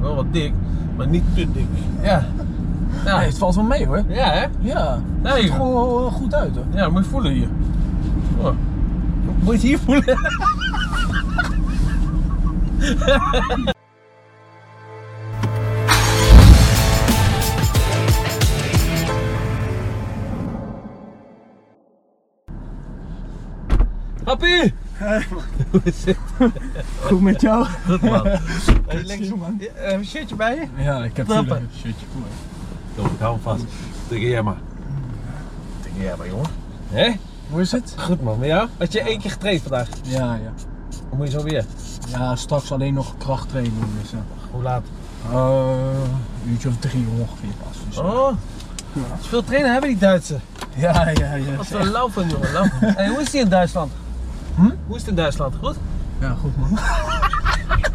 wat dik, maar niet te dik. Ja. ja. Nee, het valt wel mee hoor. Ja, hè? Ja. Nee, Het ziet joh. er gewoon wel, eh, goed uit hoor. Ja, moet je voelen hier. Oh. Moet je het hier voelen? Happy! Hoe is het? Goed met jou? Goed man. Hey, Lex, man. eh, een shirtje bij je? Ja, ik heb Trappen. natuurlijk een shirtje voor. Kom, ik hou hem vast. Tegen jij maar. Tegen jij maar, jongen. Hé? Hoe is het? Goed man, met jou? Had je één keer getraind vandaag? Ja, ja. Dan moet je zo weer. Ja, straks alleen nog krachttraining. Dus, eh, Hoe laat? eh, een uurtje of drie ongeveer pas. Dus, Oh, Ja. veel trainen hebben die Duitsers. Ja, ja, ja. Wat een laufen, jongen. Laufen. Hey, hoe is die in Duitsland? Hm? Hoe is het in Duitsland? Goed? Ja, goed man.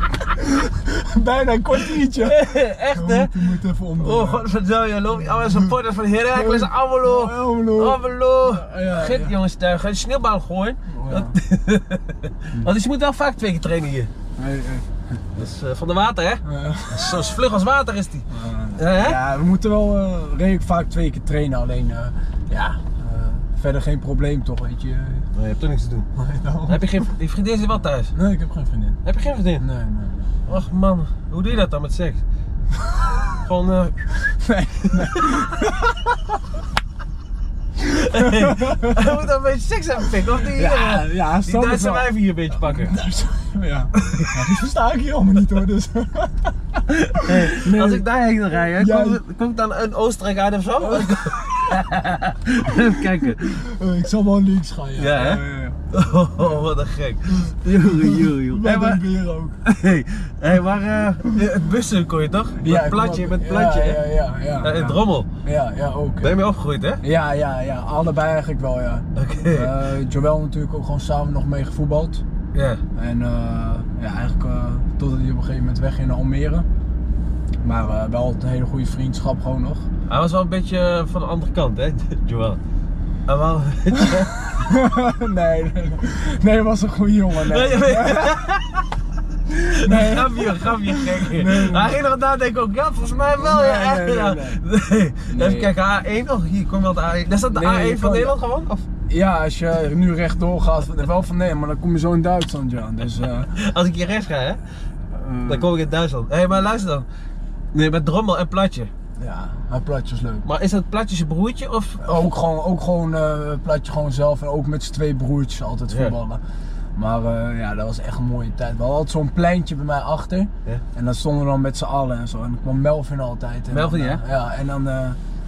Bijna een kwartiertje. Echt, hè? Je moet even onder. Oh, godverdomme, loop je allemaal supporters van Heracles, Almelo. Hallo. Almelo. Oh, Ja, ja, Git, ja. jongens, daar ga je sneeuwbal gooien. Ja. Want dus je moet wel vaak twee keer trainen hier. Hey, hey. Dat is eh, van de water, hè? Eh, Zo vlug als water is die. Hè? Ja, we moeten wel eh, redelijk vaak twee keer trainen. Alleen, eh, ja, eh, verder geen probleem toch, weet je. Nee, je hebt toch niks te doen. Nee, Dan heb je geen, die vriendin zit wel thuis. nee, ik heb geen vriendin. Heb je geen vriendin? Nee, nee. nee. Och man, hoe doe je dat dan met seks? Gewoon, eh, Nee, Hij moet dan een beetje seks hebben, pik, of niet? ja, ja, die snap ik Duitse wel. wijven hier een beetje pakken. Ja, die versta ik hier allemaal niet hoor, dus. Nee. Als ik daarheen wil rijden, Ja. Oh. kom, kom ik dan een Oostenrijk uit of zo? Even kijken. Eh, ik zal wel links gaan, ja. Ja, hè? Oh, wat een gek. Joe, joe, joe. Hé, Met een maar, beer ook. hey, hey, maar eh, eh, bussen kon je toch? met ik platje, ook. met platje. Ja, hè? ja, ja. ja, Eh, in ja. Drommel. Ja, ja, ook. Ben je mee opgegroeid, hè? Ja, ja, ja. Allebei eigenlijk wel, ja. Oké. Eh Joël natuurlijk ook gewoon samen nog mee gevoetbald. Ja. En eh, ja, eigenlijk eh, totdat hij op een gegeven moment wegging naar Almere. Maar eh, wel een hele goede vriendschap gewoon nog. Hij was wel een beetje eh, van de andere kant, hè, Joel? Hij wel... nee, nee, nee, hij was een goede jongen. Nee. Nee, nee. Nee. Grapje, grapje, gek. nee. Hij ging nog nadenken ook, ja, volgens mij wel. Nee, ja, nee, ja. nee, Nee. Nee. Even kijken, A1 nog? Hier, kom wel de A1. Daar staat de Nee, A1 van van- Nederland gewoon? Of? Ja, als je nu rechtdoor gaat, wel van nee, maar dan kom je zo in Duitsland, ja. Dus, eh, Als ik hier rechts ga, hè, eh, dan kom ik in Duitsland. Hé, hey, maar luister dan. Nee, met Drommel en Platje. Ja, maar platje is leuk. Maar is dat Platje zijn broertje of... Ook gewoon, ook gewoon eh, platje gewoon zelf en ook met z'n twee broertjes altijd Ja. voetballen. Maar eh, ja, dat was echt een mooie tijd. We hadden altijd zo'n pleintje bij mij achter. Ja. En dan stonden we dan met z'n allen en zo. En dan kwam Melvin altijd. En Melvin, dan, ja? eh, Ja, en dan eh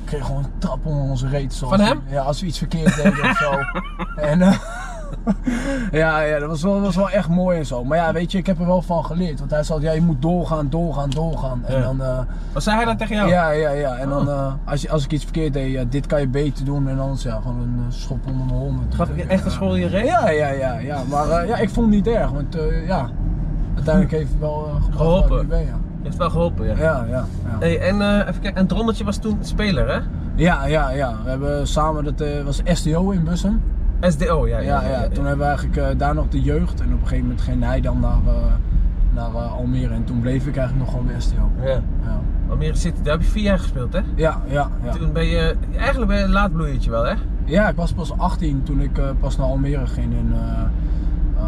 kreeg gewoon een trap onder onze reet. zoals- Van hem? Ja, als we iets verkeerd deden of zo. En, eh, ja, ja, dat was wel, was wel echt mooi en zo. Maar ja, weet je, ik heb er wel van geleerd. Want hij zei, ja, je moet doorgaan, doorgaan, doorgaan. En Ja. dan... eh, Wat zei hij dat tegen jou? ja, ja, ja. En dan Oh. eh, als, je, als ik iets verkeerd deed, ja, dit kan je beter doen. En anders ja, gewoon een eh, schop onder mijn hond. Gaf ik je echt een school in je reet? Ja, ja, ja, ja. Maar eh, ja, ik vond het niet erg, want eh, ja, uiteindelijk heeft het wel eh, gebracht Geholpen. waar ik nu ben, ja. Heeft wel geholpen, ja. Ja, ja, ja. Hey, en eh, even kijken, en Drommeltje was toen speler, hè? Ja, ja, ja. We hebben samen, dat eh, was STO in Bussum. SDO, ja. Ja, ja, Toen hebben we eigenlijk eh, daar nog de jeugd. En op een gegeven moment ging hij dan naar, eh, naar eh, Almere. En toen bleef ik eigenlijk nog gewoon bij STO. Ja. Ja, Almere City, daar heb je vier jaar gespeeld, hè? ja, ja. ja. Nou, Toen ben je, eigenlijk ben je een laadbloeiertje wel, hè? Ja, ik was pas 18 toen ik eh, pas naar Almere ging. En, eh, eh,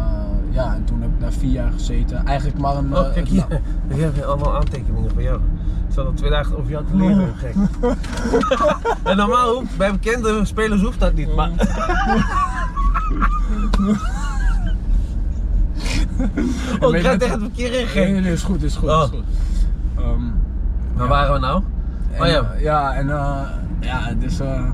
ja, en toen heb ik daar vier jaar gezeten. Eigenlijk maar een. Oh, eh, kijk het- hier. nou, Ik heb allemaal aantekeningen van jou. Ik zal dat twee dagen over jou te leren, gek. en normaal, hoeft- bij bekende spelers hoeft dat niet, maar... oh, ik weet rijd je- tegen het verkeer in, nee, gek. nee, nee, is goed, is goed. Oh. Is goed. Ehm, Waar waren we nou? en, Oh ja. eh, ja, en eh, ja, dus. eh,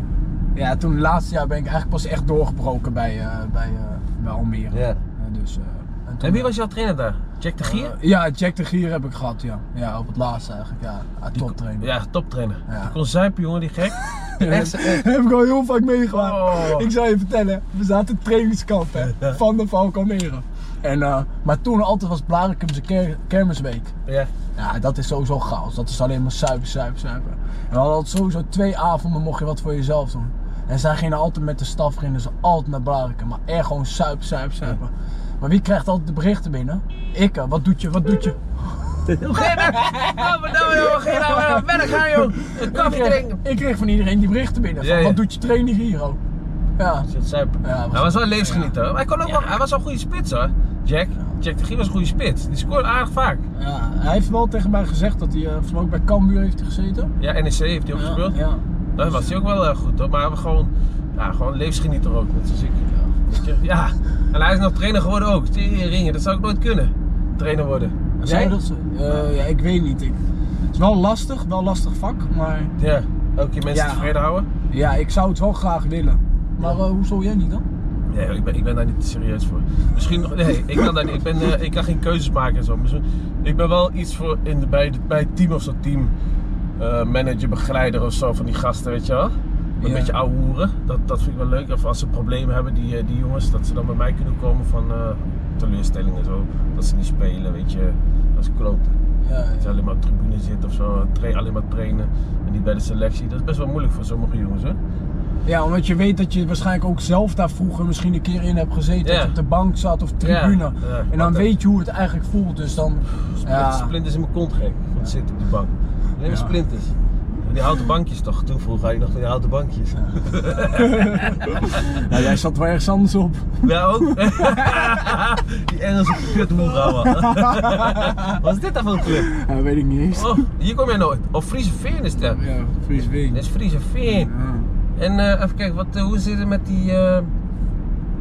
ja, toen het laatste jaar ben ik eigenlijk pas echt doorgebroken bij, eh, bij, eh, bij Almere. Ja. Eh, dus, eh, en, toen, En wie was jouw trainer daar? Jack de Gier? Eh, ja, Jack de Gier heb ik gehad, ja. Ja, op het laatste eigenlijk, ja. Ah, toptrainer. Ja, toptrainer. Ja. Die kon zuipen, jongen, die gek. Echt, echt. eh, heb ik al heel vaak meegemaakt. Oh. Ik zou je vertellen, we zaten trainingskamp hè, van de Valk Almere. En, eh, maar toen altijd was Blarikum zijn ker- kermisweek. Ja. Ja, dat is sowieso chaos. Dat is alleen maar suipen, suipen, suipen. En we hadden altijd sowieso twee avonden mocht je wat voor jezelf doen. En zij gingen altijd met de staf, gingen ze altijd naar Blarikum. Maar echt gewoon suipen, suipen, suipen. Maar wie krijgt altijd de berichten binnen? Ik, eh, wat doet je, wat doet je? Geen Nou, verdomme jongen, geen nou, maar verder gaan jongen. Een koffie ik, kreeg, drinken. ik kreeg van iedereen die berichten binnen. Van, Ja, ja. Wat doet je trainer hier ook? Ja. Zit zuipen. Ja, was- hij was wel een levensgenieter. hoor. Maar Hij, kon ook wel, hij was wel een goede spits hoor. Jack. Jack de Gier was een goede spits. Die scoort aardig vaak. ja. Hij heeft wel tegen mij gezegd dat hij eh, volgens mij ook bij Cambuur heeft gezeten. Ja, NEC heeft hij ook gespeeld. Ja. Dan was hij ook wel eh, goed hoor. Maar we gewoon, ja, gewoon levensgenieter ook met zijn ziek. Weet je, Ja. En hij is nog trainer geworden ook. Ringen, dat zou ik nooit kunnen. Trainer worden. Ja. Jij? Zou dat zo? Eh, ja, ik weet niet. Ik, het is wel lastig, wel lastig vak, maar Ja. Elke keer mensen Ja. tevreden houden. ja, ik zou het wel graag willen. Maar eh, hoe zou jij niet dan? Nee, ik ben, ik ben daar niet serieus voor. Misschien nog, nee, ik kan daar niet. Ik, ben, eh, ik kan geen keuzes maken en zo. Maar zo- ik ben wel iets voor in de, bij, de- bij het team of zo, team eh, manager, begeleider of zo van die gasten, weet je wel. Een Ja. beetje ouwe hoeren, dat, dat vind ik wel leuk. Of als ze problemen hebben, die, eh, die jongens, dat ze dan bij mij kunnen komen van eh teleurstellingen en zo. Dat ze niet spelen, weet je. Dat is kloten. Ja, Dat ze ja. alleen maar op tribune zitten of zo, tra- alleen maar trainen en niet bij de selectie. Dat is best wel moeilijk voor sommige jongens, hè. ja, omdat je weet dat je waarschijnlijk ook zelf daar vroeger misschien een keer in hebt gezeten. Ja. Dat je op de bank zat of tribune. Ja, ja. En Want, dan eh, weet je hoe het eigenlijk voelt. Dus dan. Ja. Ja, Splinters in mijn kont gek van het zitten op die bank. Alleen maar Ja. splinters. Die houten bankjes toch? Toen vroeg hij nog van die houten bankjes. nou, jij zat wel ergens anders op. Ja, ook. die Engelse kutmoegaan, man. Wat is dit dan voor een club? Ja, weet ik niet eens. Oh, hier kom jij nooit. Of Friese Veen is dat. Ja, Fries Wing. Dat is Friese Veen. Ja. En eh, even kijken, wat, eh, hoe zit het met die... eh,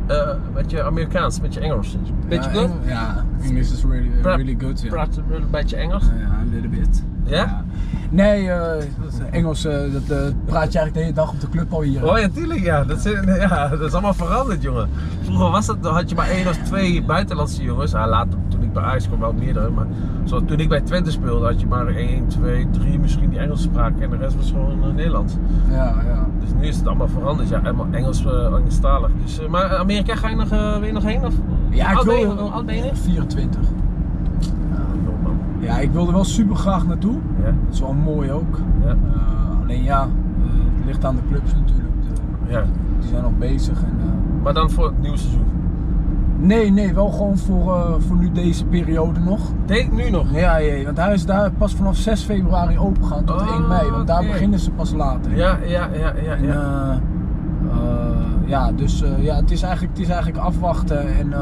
eh, met je Amerikaans, met je Engels? Beetje ja, goed? Eng- Ja, English is really, Pra- really good. Ja, Praat een beetje- beetje Engels? Ja, Nou ja, een little bit. Ja? Nee, eh, Engels eh, dat, eh, praat je eigenlijk de hele dag op de club al hier. Oh ja, tuurlijk ja. Dat, is, ja. dat is allemaal veranderd, jongen. Vroeger was dat, dan had je maar één of twee buitenlandse jongens. Ah, later, toen ik bij Ajax kwam, wel meerdere. Maar zo, toen ik bij Twente speelde, had je maar één, twee, drie misschien die Engels spraken. En de rest was gewoon eh, Nederlands. Ja, ja. Dus nu is het allemaal veranderd. Ja, helemaal Engels, eh, Engelstalig. Dus, eh, maar Amerika, ga je nog, eh, wil je nog heen? Of? Ja, Oud ik ben je- wil oud ben je? 24. Ja, Ah, joh, man. Ja, ik wilde wel super graag naartoe. Ja, Dat is wel mooi ook. ja, Eh, alleen ja, eh, het ligt aan de clubs natuurlijk. De- ja. die zijn nog bezig. En, eh, Maar dan voor het nieuwe seizoen. nee, nee, wel gewoon voor, eh, voor nu deze periode nog. Deed nu nog. Ja, ja, ja, want hij is daar pas vanaf 6 februari open gaan tot Oh, 1 mei. Want daar oké. beginnen ze pas later. Ja, ja, ja, ja. En, ja. eh, eh, ja, dus eh, ja, het, is eigenlijk, het is eigenlijk afwachten. En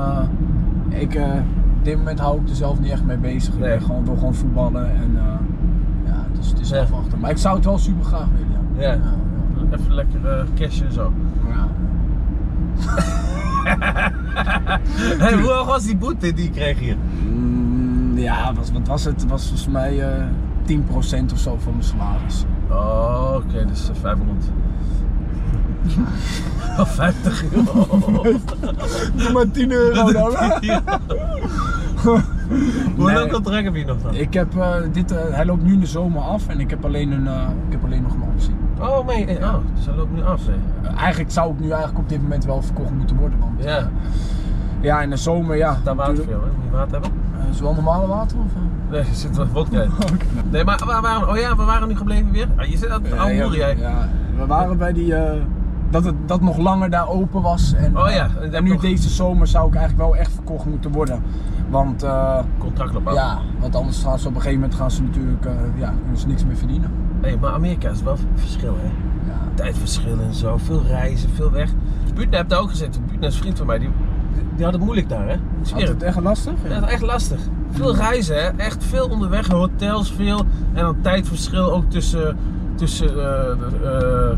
eh, ik, eh, op dit moment hou ik er zelf niet echt mee bezig. Ik Nee. ben gewoon, wil gewoon voetballen. En, eh, ja, dus het is Ja. afwachten. Maar ik zou het wel super graag willen. Ja. Ja. Even lekker eh, cashen en zo. ja. Hey, hoe hoog was die boete die ik kreeg hier? Mm, ja, was, wat was het? Het was volgens mij eh 10% of zo van mijn salaris. Oh, oké, dus eh, 500. Of 50 euro. Doe maar 10 euro nou. Hoe Nee. lang contract heb je nog dan? Ik heb, eh, dit, eh, hij loopt nu in de zomer af en ik heb alleen, een, eh, ik heb alleen nog een optie. Oh, nee. eh, Oh, dus hij loopt nu af. Hè. Eh, Eigenlijk zou ik nu eigenlijk op dit moment wel verkocht moeten worden. Want Ja, ja, in de zomer, ja. daar water natuurlijk. veel, hè? Moet je water hebben? Eh, is het wel normale water of? eh? Nee, er zit wat vodka in. Nee, maar waar waren Oh ja, we waren nu gebleven weer. Ah, je zit aan het Ja, oude ja, boeren, jij. ja, we waren bij die. eh, dat het dat nog langer daar open was. En, Oh eh, ja, en en nu nog- deze zomer zou ik eigenlijk wel echt verkocht moeten worden. Want eh, Contract lopen. ja, want anders gaan ze op een gegeven moment gaan ze natuurlijk eh, ja, kunnen ze niks meer verdienen. Hey, maar Amerika is wel verschil, hè? Ja. Tijdverschil en zo. Veel reizen, veel weg. Buurtner hebt daar ook gezeten. Buurtner is een vriend van mij. Die, die had het moeilijk daar, hè? Ik zweer Had het. het echt lastig? Ja, dat is echt lastig. Veel reizen, hè? echt veel onderweg, hotels veel. En dan tijdverschil ook tussen, tussen eh, de,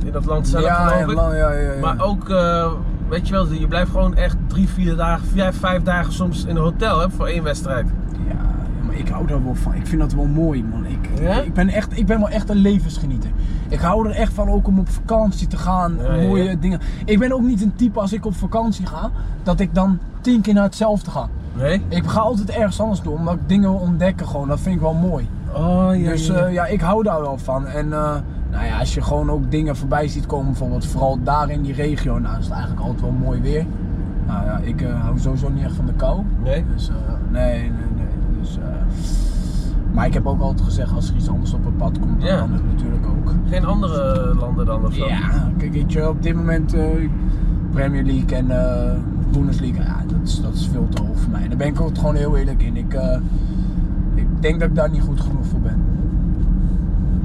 eh, in dat land zelf ja, geloof ja, ik. lang- ja, ja, ja. Maar ook, eh, weet je wel, je blijft gewoon echt drie, vier dagen, vijf, vijf dagen soms in een hotel hè, voor één wedstrijd. Ja, ja, maar ik hou daar wel van. Ik vind dat wel mooi, man. Ik, Ja? ik, ben, echt, ik ben wel echt een levensgenieter. Ik hou er echt van ook om op vakantie te gaan. Ja, ja, mooie ja. dingen. Ik ben ook niet een type als ik op vakantie ga, dat ik dan tien keer naar hetzelfde ga. Nee? Ik ga altijd ergens anders doen, omdat ik dingen wil ontdekken gewoon. Dat vind ik wel mooi. Oh dus ja, ja ik hou daar wel van. En eh, nou ja, als je gewoon ook dingen voorbij ziet komen, bijvoorbeeld vooral daar in die regio, nou is het eigenlijk altijd wel mooi weer. Nou ja, ik eh, hou sowieso niet echt van de kou. Nee? Dus, eh, nee, nee, nee. Dus, eh, maar ik heb ook altijd gezegd, als er iets anders op het pad komt, dan Ja. kan het natuurlijk ook. Geen andere landen dan of zo? Ja, kijk, weet je, op dit moment eh, Premier League en eh Bundesliga, ja, dat is, dat is veel te hoog voor mij. Daar ben ik ook gewoon heel eerlijk in. Ik, eh, ik, ik denk dat ik daar niet goed genoeg voor ben.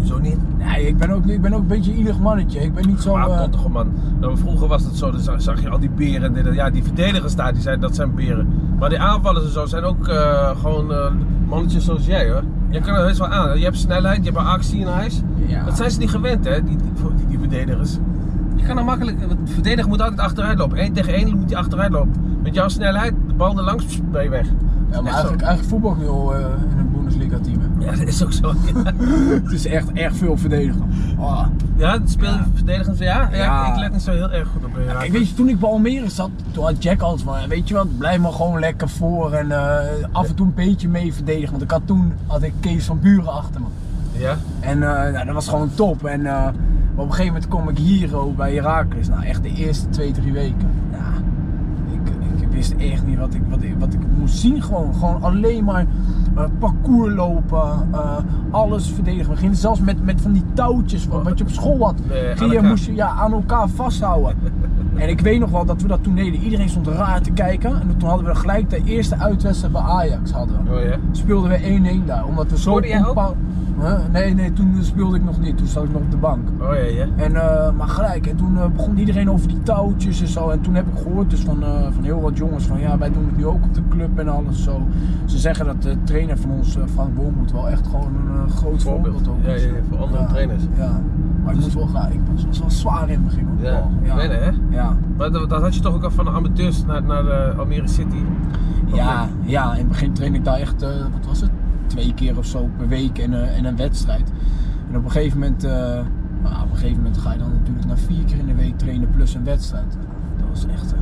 Zo niet. Nee, ik ben ook, niet- ik ben ook een beetje een ieder mannetje. Ik ben niet zo... Maar eh, komt toch man. Nou, vroeger was het zo, dan zag, zag je al die beren. en dit en- ja, die verdedigers daar, die zijn, dat zijn beren. Maar die aanvallers en zo zijn ook eh, gewoon eh, mannetjes zoals jij hoor. Je kan er best wel aan. Je hebt snelheid, je hebt actie in huis. Ja. Dat zijn ze niet gewend hè, die, die, die, die verdedigers. Je kan er makkelijk, want de verdediger moet altijd achteruit lopen. Eén tegen één moet hij achteruit lopen. Met jouw snelheid, de bal er langs, pss, ben je weg. ja, maar Echt eigenlijk, eigenlijk voetbal ik nu al eh, in een Bundesliga team. hè. Ja, dat is ook zo. Het is echt, echt veel verdedigen. Ah. Ja, het speel Ja. verdedigend. Ja, ja, Ja. Ik, let niet zo heel erg goed op. eh, Kijk, weet je, toen ik bij Almere zat, toen had Jack alles maar. Weet je wat, blijf maar gewoon lekker voor en eh, af en toe een beetje mee verdedigen. Want ik had toen had ik Kees van Buren achter me. Ja. En eh, nou, dat was gewoon top. En eh, maar op een gegeven moment kom ik hier oh, bij Herakles. Nou, echt de eerste twee, drie weken. Ja, ik, ik wist echt niet wat ik, wat, ik, wat ik moest zien. Gewoon, gewoon alleen maar eh, parcours lopen, eh, alles verdedigen. We gingen zelfs met, met van die touwtjes wat, wat je op school had. Nee, aan Ging je, elkaar. moest je ja, aan elkaar vasthouden. En ik weet nog wel dat we dat toen deden. Iedereen stond raar te kijken. En toen hadden we gelijk de eerste uitwedstrijd bij Ajax. Hadden. we Oh ja. speelden we 1-1 daar. Omdat we zo Scoorde jij ook? compa- Huh? Nee, nee, toen eh, speelde ik nog niet. Toen zat ik nog op de bank. Oh ja, ja. En, eh, maar gelijk, en toen eh, begon iedereen over die touwtjes en zo. En toen heb ik gehoord dus van, eh, van heel wat jongens van ja, wij doen het nu ook op de club en alles zo. Ze zeggen dat de trainer van ons, eh, Frank Boormoed, wel echt gewoon een eh, groot Voorbeeld. voorbeeld, ook Ja, is. ja, ja, voor andere Ja, trainers. Dus Ja, maar ik moet wel gaan. Ik was, was wel zwaar in het begin hoor. Ja, Oh, ik weet het, hè? Ja. Maar dat, dat had je toch ook al van de amateurs naar, naar eh, Almere City? Of Ja, niet? ja, in het begin train ik daar echt, eh, wat was het, twee keer of zo per week en, eh, en een wedstrijd. En op een gegeven moment, eh, nou, op een gegeven moment ga je dan natuurlijk naar vier keer in de week trainen plus een wedstrijd. Dat was echt eh,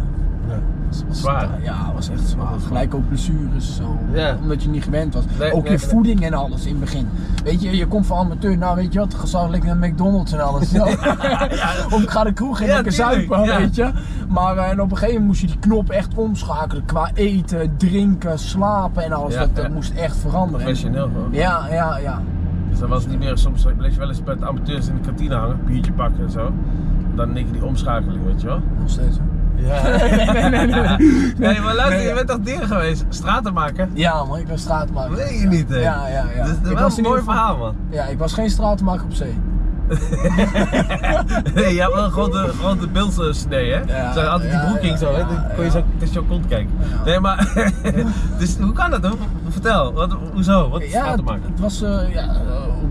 was- was- Zwaar. ja, was echt zwaar. Gelijk ook blessures zo, Ja. omdat je niet gewend was. Nee, ook nee, je nee. voeding en alles in het begin. Weet je, je komt van amateur, nou weet je wat, gezamenlijk naar McDonald's en alles. Ja. Of ik ga de kroeg in Ja, lekker tuurlijk, zuipen, ja. weet je. Maar eh, en op een gegeven moment moest je die knop echt omschakelen. Qua eten, drinken, slapen en alles. Ja, dat dat ja. moest echt veranderen. Professioneel gewoon. Ja, ja, ja. Dus dan was het niet meer, soms bleef je wel eens bij de amateurs in de kantine hangen, biertje pakken en zo. En Dan denk je die omschakeling, weet je wel. Nog steeds. hoor. Ja. nee, nee, nee, nee. maar luister, Nee, je ja. bent toch dier geweest? Straten maken? Ja, man, ik ben straatmaker. Weet je niet, hè? Ja, ja, ja. Dus Ik dat is wel was in een mooi ieder geval- verhaal, man. Ja, ik was geen straatmaker op zee. Nee, je had wel een grote, grote bilsnee, hè? Ja, Ze hadden altijd ja, die broeking ja, zo, hè? ja, Dan kon je ja. zo tussen je kont kijken. Ja. Nee, maar... dus hoe kan dat, hoor? Vertel, wat, hoezo? Wat is Ja, te het, maken? het was, eh, ja, eh,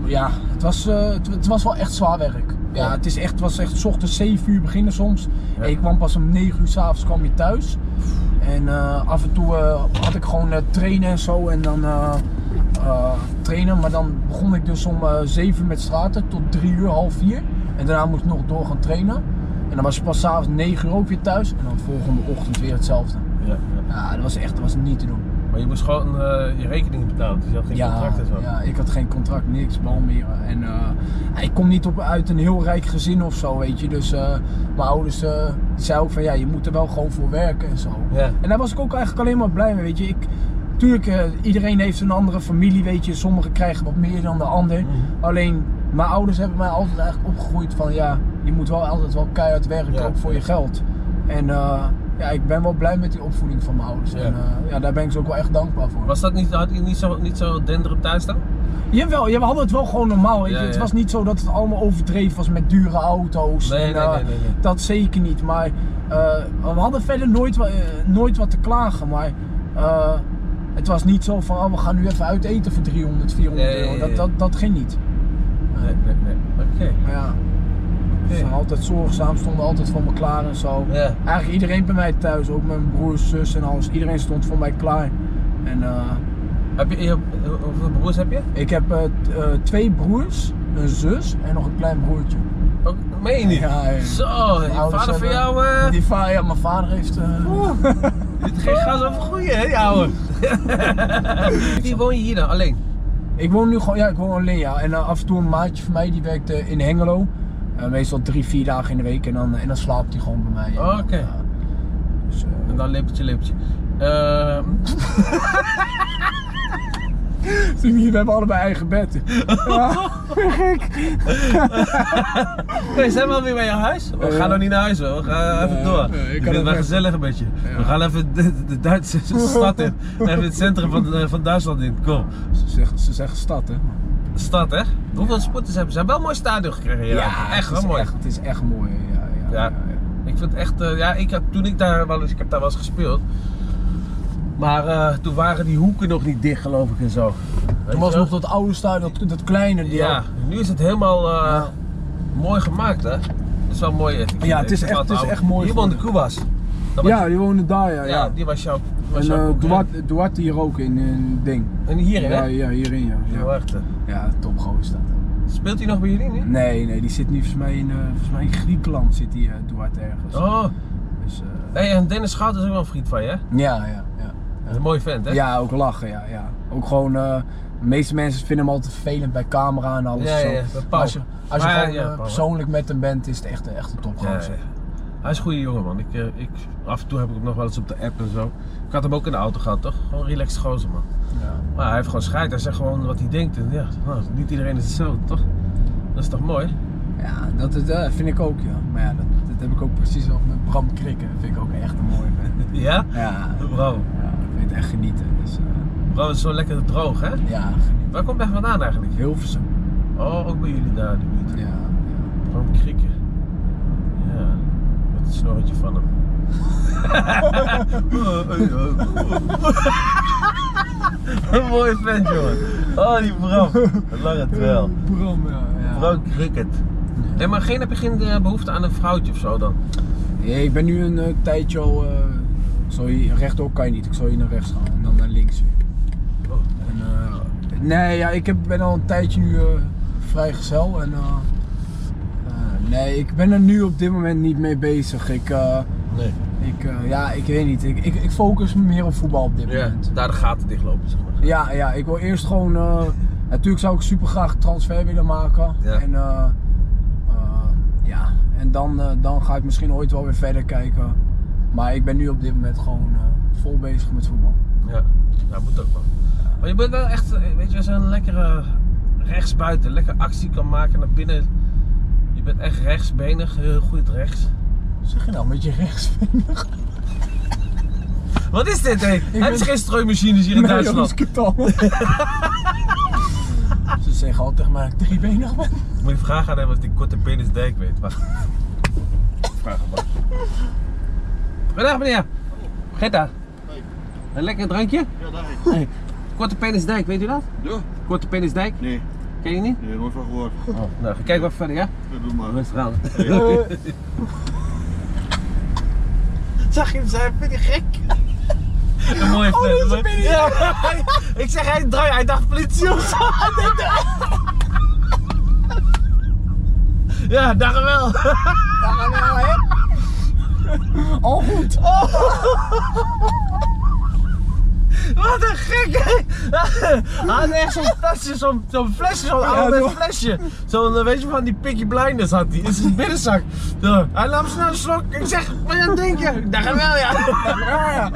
ja, het, was, eh, het, het was wel echt zwaar werk. Ja, Ja. Het, is echt, het was echt 's ochtends 7 uur beginnen soms. Ja. En ik kwam pas om 9 uur s'avonds kwam je thuis. En eh, af en toe eh, had ik gewoon eh, trainen en zo. En dan eh, eh, trainen. Maar dan begon ik dus om eh 7 uur met straten tot 3 uur, half 4. En daarna moest ik nog door gaan trainen. En dan was je pas s'avonds 9 uur ook weer thuis. En dan volgende ochtend weer hetzelfde. Ja, ja. Ja, dat was echt dat was niet te doen. Maar je moest gewoon eh, je rekening betalen, dus je had geen contract en zo. Ja, ik had geen contract, niks, Balmeren. En eh, ik kom niet op, uit een heel rijk gezin of zo, weet je. Dus eh, mijn ouders eh, die zeiden ook van ja, je moet er wel gewoon voor werken en zo. Ja. En daar was ik ook eigenlijk alleen maar blij mee, weet je. Ik, tuurlijk, eh, iedereen heeft een andere familie, weet je. Sommigen krijgen wat meer dan de ander. Mhm. Alleen, mijn ouders hebben mij altijd eigenlijk opgegroeid van ja, je moet wel altijd wel keihard werken, Ja. ook voor je geld. En eh, ja, ik ben wel blij met die opvoeding van mijn ouders. Ja. En eh, ja, daar ben ik ze ook wel echt dankbaar voor. Was dat niet, had je niet zo, niet zo denderen thuis dan? Jawel, ja, we hadden het wel gewoon normaal. Weet je. Ja, Het ja. was niet zo dat het allemaal overdreven was met dure auto's. Nee, nee, eh, nee, nee, nee. Dat zeker niet. Maar eh, we hadden verder nooit, wa- eh, nooit wat te klagen. Maar eh, het was niet zo van oh, we gaan nu even uit eten voor 300, 400 Nee, euro. nee, Dat, nee. dat, dat ging niet. Nee, nee, nee. Oké. Maar ja, ze waren altijd zorgzaam, stonden altijd voor me klaar en zo. Ja. Eigenlijk iedereen bij mij thuis, ook mijn broers, zus en alles. Iedereen stond voor mij klaar. En eh, Heb je, je- hoeveel broers heb je? ik heb eh, t- eh, twee broers, een zus en nog een klein broertje. Ook, meen je niet? Ja, ja. Zo, je Mijn ouders vader van hebben- jou, eh, Oh. Die va ja, mijn vader heeft... eh, doet geen gas over groeien, hè, die ouwe? Wie woon je hier dan, alleen? ik woon nu gewoon, ja, ik woon alleen, ja. En eh, af en toe een maatje van mij, die werkt eh, in Hengelo. Eh, meestal drie, vier dagen in de week en dan, eh, en dan slaapt hij gewoon bij mij. Oh, oké. Ja. Dus, eh, En dan lepeltje, lepeltje. Ehm. Zie je, we hebben allebei eigen bed. Ja, gek. Hey, zijn we alweer bij jouw huis? We Eh, gaan nog niet naar huis hoor, we gaan even nee, door. nee, ik ik kan vind het het wel weg. gezellig een beetje. Ja. We gaan even de, de Duitse stad in, even het centrum van, eh, van Duitsland in. Kom, Ze zeggen, ze zeggen stad, hè? stad hè? Hoeveel supporters hebben ze? Ze hebben wel een mooi stadion gekregen hier. eigenlijk. echt het is wel mooi. Echt, het is echt mooi. Ja, ja, Ja. ja, ja. Ik vind het echt, eh, ja, ik heb, toen ik daar wel eens, ik heb daar wel eens gespeeld. Maar eh, toen waren die hoeken nog niet dicht geloof ik en zo. Weet Toen je was wel? nog dat oude stadion, dat, dat kleine deel. Ja, nu is het helemaal eh, Ja. mooi gemaakt hè? Het is wel mooi. eh, ik vind Ja, het is ik vind echt- wel het is oude. echt mooi Hier woonde Kubas. Dat was- Ja, die woonde daar, ja. ja. Ja, die was jouw. Was en jouw eh concurrent. Duarte, Duarte hier ook in, in Ding. En hier, hè? Ja, ja, hierin, ja. Ja, Duarte. ja top gozer dat. Speelt hij nog bij jullie nu? Nee, nee, die zit nu volgens mij in, eh, volgens mij in Griekenland zit die eh, Duarte ergens. Oh, Dus, eh, hey, en Dennis Schout is ook wel een vriend van je, hè? ja, ja, ja. Dat is een mooie vent, hè? Ja, ook lachen, ja, ja. Ook gewoon, eh, de meeste mensen vinden hem altijd vervelend bij camera en alles. Ja, zo. ja, dat Maar past. als je, als je Maar ja, gewoon ja, eh, past. persoonlijk met hem bent, is het echt, een- echt een Ja, topgozer. ja. Hij is een goede jongen, man. Ik, eh, ik, af en toe heb ik hem nog wel eens op de app en zo. Ik had hem ook in de auto gehad, toch? Gewoon relaxed gozer, man. Ja. Maar hij heeft gewoon scheid. Hij zegt gewoon wat hij denkt. En ja, nou, niet iedereen is hetzelfde, toch? Dat is toch mooi? Ja, dat is, eh, vind ik ook, ja. Maar ja, dat, dat heb ik ook precies al met Bram Krikken. Dat vind ik ook echt een mooie vent. Ja? Ja, Bro, ja, ik vind het echt genieten. Dus, eh, bro is zo lekker droog, hè? ja, genieten. Waar komt hij vandaan eigenlijk? Hilversum. Oh, ook bij jullie daar in de buurt. Ja, ja. Gewoon krikken. Ja, met het snorretje van hem. Een mooie vent, jongen. Oh, die Bram. Een lange twijl. Bram, ja. ja. Bram cricket. Hé, maar geen, heb je geen eh, behoefte aan een vrouwtje of zo dan? Nee, ik ben nu een eh, tijdje al. eh, zo hier, rechtdoor kan je niet. Ik zal hier naar rechts gaan en dan naar links weer. Oh. En, eh, nee, ja, ik heb, ben al een tijdje nu eh, vrijgezel. En, eh, eh, nee, ik ben er nu op dit moment niet mee bezig. Ik, eh, Nee. ik, eh, ja, ik weet niet. Ik, ik, ik focus me meer op voetbal op dit Ja, moment. daar de gaten dichtlopen, zeg maar. Ja, ja, ik wil eerst gewoon. eh, natuurlijk zou ik super graag transfer willen maken. Ja. En, eh, eh, ja. en dan, eh, dan ga ik misschien ooit wel weer verder kijken. Maar ik ben nu op dit moment gewoon eh, vol bezig met voetbal. Ja, ja moet ook wel. Maar je bent wel echt, eh, weet je, als je een lekkere rechtsbuiten, lekker actie kan maken naar binnen. Je bent echt rechtsbenig, heel goed rechts. Zeg je nou met je rechtsvinger? Wat is dit, hé? Hebben ben- ze geen strooimachines hier in Duitsland? Ze zeggen altijd tegen mij dat ik driebenig ben. Moet je vragen aan hem of die korte penis dijk weet. Wacht. Vraag hem maar. Goedendag, meneer. Gitta. Hey. Een lekker drankje? Ja, daar ik. Nee. Korte penis dijk, weet u dat? Ja? Korte penis dijk, Nee, ken je niet? nee, nooit van gehoord. Oh, nou, kijk wat verder, ja? Ja, doe maar. Rustig aan. Eh, Zag je hem zijn? Vind je gek? Een Oh, mooie dat is vent. een penis. ik zeg, hij draait, hij dacht politie of zo. ja, daar wel. daar gaan we nou, hè? Al goed. Oh. Wat een gek! Hij had echt zo'n flesje, zo'n zo'n flesje, zo'n Ja, oude toch? flesje. Zo'n, eh, weet je, van die Picky Blinders had hij in zijn binnenzak. Zo, Hij nam snel een slok. Ik zeg, wat je aan het drinken? Daar gaan wel, ja. Ja, ja.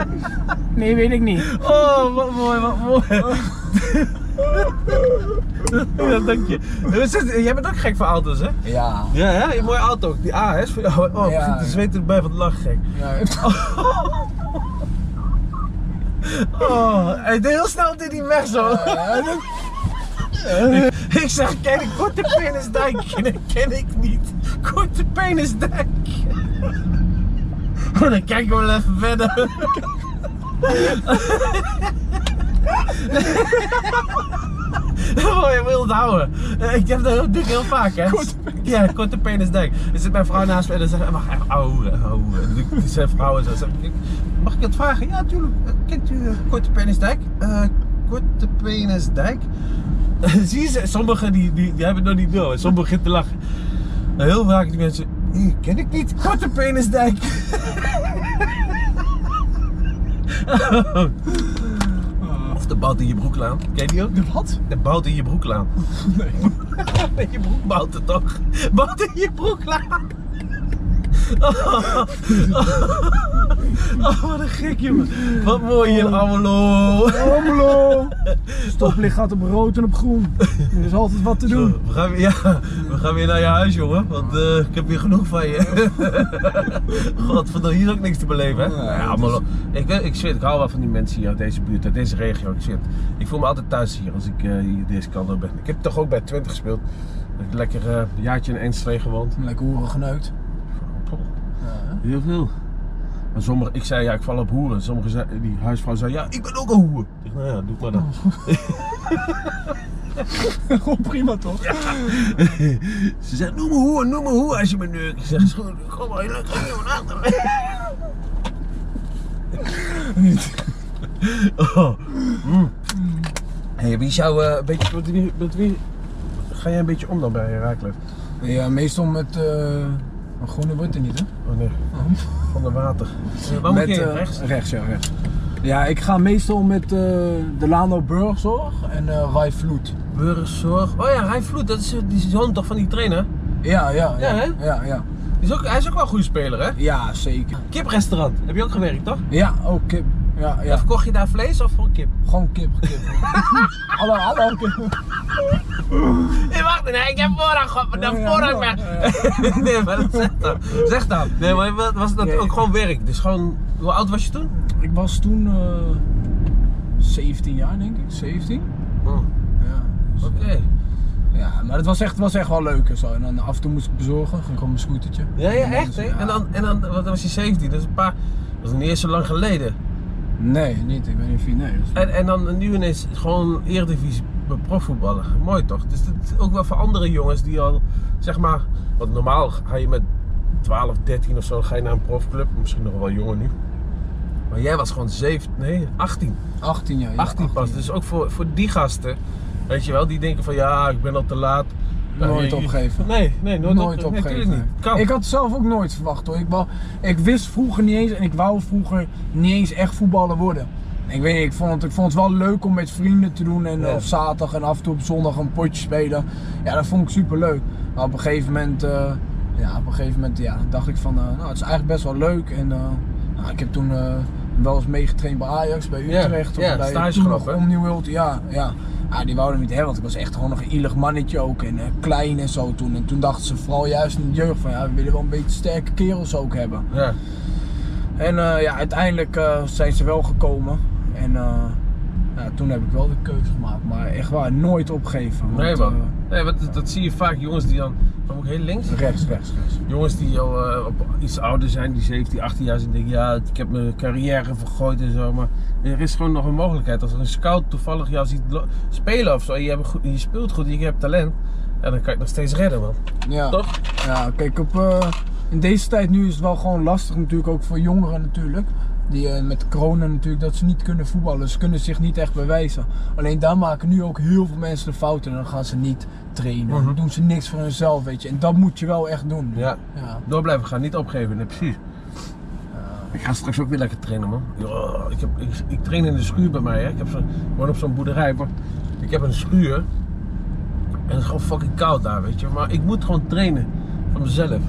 Nee, weet ik niet. Oh, wat mooi, wat mooi. Ja, dank je. Dus het- Jij bent ook gek voor auto's, hè? Ja. Ja, hè? Je mooie auto ook. Die A, hè? is voor jou. Oh, Ja. ja. de zweet erbij van het lachen, gek. ja. Oh, hij deed heel snel dit hij weg zo. Ik zeg, ken ik korte penisdijk? Ken, ken ik niet. Korte penisdijk. Oh, dan kijken we wel even verder. Oh, je wilt houden. Eh, Ik heb dat heel, doe ik heel vaak, hè? Korte Ja, korte penisdijk. Er zit mijn vrouw naast me en dan zegt, mag even ouwe, ouwe. En dan doet Zijn vrouw en zo. Zeg ik, mag ik het vragen? Ja, tuurlijk. Eh, Kent u eh, korte penisdijk? Eh, korte penisdijk? Zie je, ze? sommigen die, die, die hebben het nog niet door. en Sommigen beginnen te lachen. Maar heel vaak die mensen, "Ih, ken ik niet. Korte penisdijk. Oh. Of de bout in je broeklaan. Ken je die ook? De wat? De bout in je broeklaan. Nee. Nee, je broek bouwt het toch? Bouwt in je broek laat. Oh, wat een gek, jongen. Wat mooi hier in Almelo. Almelo! Stoplicht gaat op rood en op groen. Er is altijd wat te doen. Zo, We gaan, weer- ja, we gaan weer naar je huis, jongen. Want eh, ik heb hier genoeg van je. Godverdomme, hier is ook niks te beleven, hè? Nee, Nou ja, dat Almelo. Ik, ben- ik zweer, ik hou wel van die mensen hier uit deze buurt, uit deze regio. Ik, zweer het. ik voel me altijd thuis hier als ik eh, hier deze kant op ben. Ik heb toch ook bij Twente gespeeld. Ik heb lekker eh, een jaartje in Enschede gewoond. Lekker hoeren geneukt. Ja. Heel veel. Maar sommige, ik zei ja, ik val op hoeren. Sommige zei, die huisvrouw zei ja, ik ben ook een hoer. Ik dacht, nou ja, doe maar dan. Gewoon Oh, prima toch? Ze zei, noem me hoer, noem me hoer als je me neukt. Ik zeg, is goed, kom maar, leuk, ga je maar achter Oh. Mm. Hey, wie zou eh, een beetje, met wie, met wie ga jij een beetje om dan bij Herakles? Ja, meestal met. eh, maar groene wordt er niet, hè? Oh nee, van de water. Waar met, moet je heen? eh, rechts? Rechts, ja, rechts. Ja, ik ga meestal met eh, de Lano Burgzorg en eh Rai Vloed. Burgzorg. Oh ja, hij vloed, dat is eh, die zoon toch van die trainer? Ja, ja. Ja, hè? ja, ja. Die Is ook, hij is ook wel een goede speler, hè? Ja, zeker. Kiprestaurant, heb je ook gewerkt, toch? Ja, ook kip. Ja, ja. Verkocht je daar vlees of gewoon kip? Gewoon kip, kip. hallo, hallo, kip. Nee, wacht, nee, ik heb voorrang gehad, maar dan Ja, ja, voorrang ja, maar. Nee, maar dat zeg dan. Zeg dan. Nee, maar wat- was dat Nee. ook gewoon werk? Dus gewoon, hoe oud was je toen? Ik was toen eh, 17 jaar, denk ik. 17? Oh. Ja. dus, Oké. eh, Ja, maar het was echt, was echt wel leuk en zo. En dan af en toe moest ik bezorgen, ging ik op mijn scootertje. Ja, ja, En dan- echt, hè? ja. En dan, en dan wat was je 17, dat is een paar... Dat is niet eens zo lang geleden. Nee, niet. Ik ben in vier. Nee, dat is- En, en dan nu ineens gewoon Eredivisie bij profvoetballen. Mooi toch? Dus dat is ook wel voor andere jongens die al, zeg maar... Want normaal ga je met 12, 13 of zo ga je naar een profclub. Misschien nog wel jonger nu. Maar jij was gewoon 7, nee, 18. 18 jaar. ja, 18 Eh, pas. jaar. Dus ook voor, voor die gasten, weet je wel, die denken van ja, ik ben al te laat. Ja, Nooit je- je- opgeven. Nee, nee, nooit, nooit opge- nee, opgeven. tuurlijk niet. Kan. Ik had het zelf ook nooit verwacht hoor. Ik, wou, ik wist vroeger niet eens en ik wou vroeger niet eens echt voetballer worden. Ik weet niet, ik vond, het, ik vond het wel leuk om met vrienden te doen en Ja. eh, op zaterdag en af en toe op zondag een potje spelen. Ja, dat vond ik super leuk. Maar op een gegeven moment, eh, ja, op een gegeven moment ja, dacht ik van, eh, nou het is eigenlijk best wel leuk. En eh, nou, ik heb toen eh, wel eens meegetraind bij Ajax, bij Ja, Utrecht ja, of bij stage toen gelopen, nog hè? Omnium World, ja, ja. Ah, die wouden me niet hebben, want ik was echt gewoon nog een ielig mannetje ook en eh, klein en zo toen. En toen dachten ze vooral juist in de jeugd van ja, we willen wel een beetje sterke kerels ook hebben. Ja. En eh, ja, uiteindelijk eh, zijn ze wel gekomen en eh, ja, toen heb ik wel de keuze gemaakt, maar echt waar, nooit opgeven. want, Nee man. eh, Nee, want dat, dat zie je vaak, jongens die dan, dan moet ik heel links. rechts, rechts, rechts. Jongens die al eh, op iets ouder zijn, die 17, 18 jaar zijn, denken ja, ik heb mijn carrière vergooid en zo. Maar er is gewoon nog een mogelijkheid. Als er een scout toevallig jou ziet lo- spelen of zo, en je, hebt een goed, je speelt goed, je hebt talent, en dan kan je het nog steeds redden man. Ja. Toch? Ja, kijk, op, eh, in deze tijd nu is het wel gewoon lastig natuurlijk, ook voor jongeren natuurlijk. Die eh, met corona natuurlijk, dat ze niet kunnen voetballen. Ze kunnen zich niet echt bewijzen. Alleen daar maken nu ook heel veel mensen de fouten. En dan gaan ze niet trainen. Mhm. Dan doen ze niks voor hunzelf, weet je. En dat moet je wel echt doen. Ja. Ja. Door blijven gaan, niet opgeven, nee, precies. Ik ga straks ook weer lekker trainen, man. Ja, ik, heb, ik, ik train in de schuur bij mij. Hè. Ik, heb zo, ik woon op zo'n boerderij, maar ik heb een schuur. En het is gewoon fucking koud daar, weet je. Maar ik moet gewoon trainen van mezelf.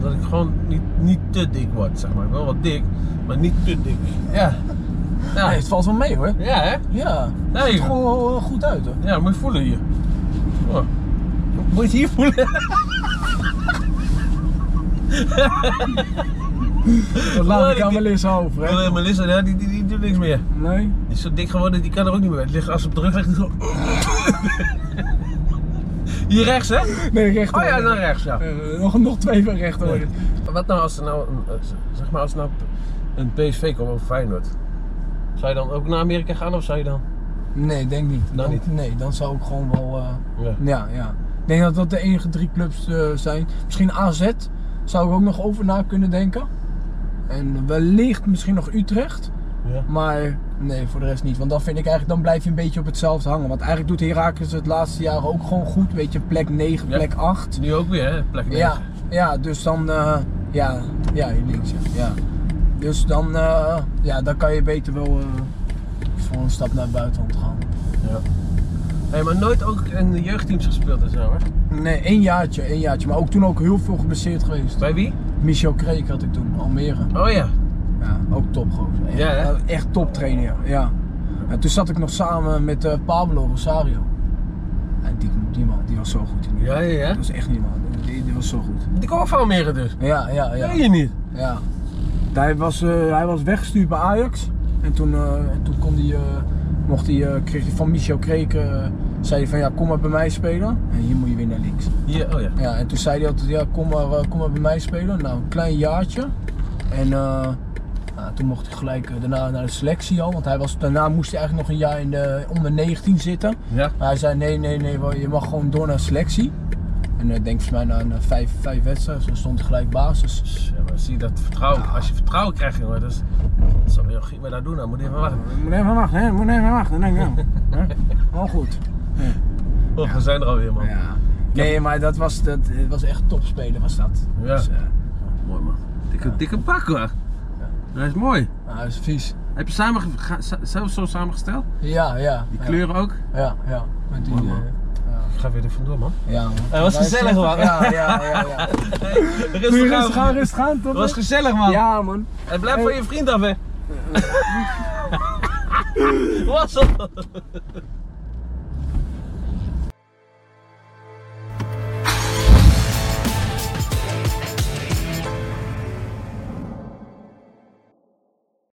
Dat ik gewoon niet, niet te dik word, zeg maar. Wel wat dik, maar niet te dik. Ja. Ja, Nee, het valt wel mee hoor. ja hè? Ja. Het Nee, ziet er joh. gewoon wel, eh, goed uit hoor. Ja, moet je voelen hier. Oh. Moet je het hier voelen? Dat Oh, laat ik die- aan mijn lissen over hè. Oh, Melissa, hè, die, die, die doet niks meer. Nee. Die is zo dik geworden, die kan er ook niet meer bij. Het ligt- Als ze op de rug ligt, is het zo... Hier rechts, hè? Nee, recht Eh, Oh ja, naar rechts, ja. nog, nog twee van recht hoor. Wat nou als er nou, een, eh, zeg maar, als er nou een PSV komt of Feyenoord? Zou je dan ook naar Amerika gaan of zou je dan... Nee, denk niet. Dan niet? Nee, dan zou ik gewoon wel... eh, Ja. Ja, ja. Ik denk dat dat de enige drie clubs eh, zijn. Misschien AZ zou ik ook nog over na kunnen denken. En wellicht misschien nog Utrecht. Ja. Maar nee, voor de rest niet. Want dan vind ik eigenlijk, dan blijf je een beetje op hetzelfde hangen. Want eigenlijk doet Herakles het laatste jaar ook gewoon goed. Weet je, plek 9, Ja. plek 8. Nu ook weer, hè? Plek negen. Ja, ja dus dan, eh, ja, ja, hier links, ja. ja. Dus dan, eh, ja, dan kan je beter wel eh, voor een stap naar het buitenland gaan. Ja. Hey, maar nooit ook in de jeugdteams gespeeld en zo, hoor. Nee, één jaartje, één jaartje. Maar ook toen ook heel veel geblesseerd geweest. Bij wie? Michel Kreek had ik toen, Almere. Oh ja. Ja, ook top gozer. Echt, Ja, hè? eh, echt top trainer, ja. ja. En toen zat ik nog samen met eh, Pablo Rosario. En die, die man, die was zo goed. Die Ja, ja, ja. Dat was echt niet man, die, die was zo goed. Die komen van Almere dus. Ja, ja, ja. Nee, je niet. ja. Hij, was, eh, hij was weggestuurd bij Ajax. En toen, eh, en toen kon die, eh, mocht hij, eh, kreeg hij van Michel Kreek, eh, zei hij van ja, kom maar bij mij spelen. En hier moet je weer naar links. Hier, oh ja. Ja, en toen zei hij altijd, ja, kom maar, eh, kom maar bij mij spelen. Nou, een klein jaartje. En eh, nou, toen mocht ik gelijk eh, daarna naar de selectie al. Want hij was, daarna moest hij eigenlijk nog een jaar in de onder 19 zitten. Ja. Maar hij zei, nee, nee, nee, wel, je mag gewoon door naar de selectie. En ik denk volgens mij na een, eh, vijf, vijf wedstrijden, toen stond hij gelijk basis. Ja, maar zie je dat vertrouwen. Als je vertrouwen krijgt, jongen, dus, dat zou heel Giet maar daar doen. Dan moet je even wachten. Moet even wachten, hè? Moet even wachten, denk ik wel. Wel goed. Oh, we zijn er alweer, man. Ja. Nee, maar dat was, dat eh, was echt topspelen, was dat. Ja. Dus, eh, Mooi, man. Dikke, dikke pak, hoor. Dat is mooi. nou, dat is vies. Heb je samen, ga- sa- zelf zo samengesteld? Ja, ja. Die ja. kleuren ook? Ja, ja. Met die, Mooi, man. eh, ja. Ik ga weer er vandoor, man. Ja, man. Hij Eh, was Maar gezellig, zeg- man. Ja, ja, ja. ja. Rustig aan. rustig aan, toch? Het was gezellig, man. Ja, man. En blijf van je vriend af, hè. Wat zo?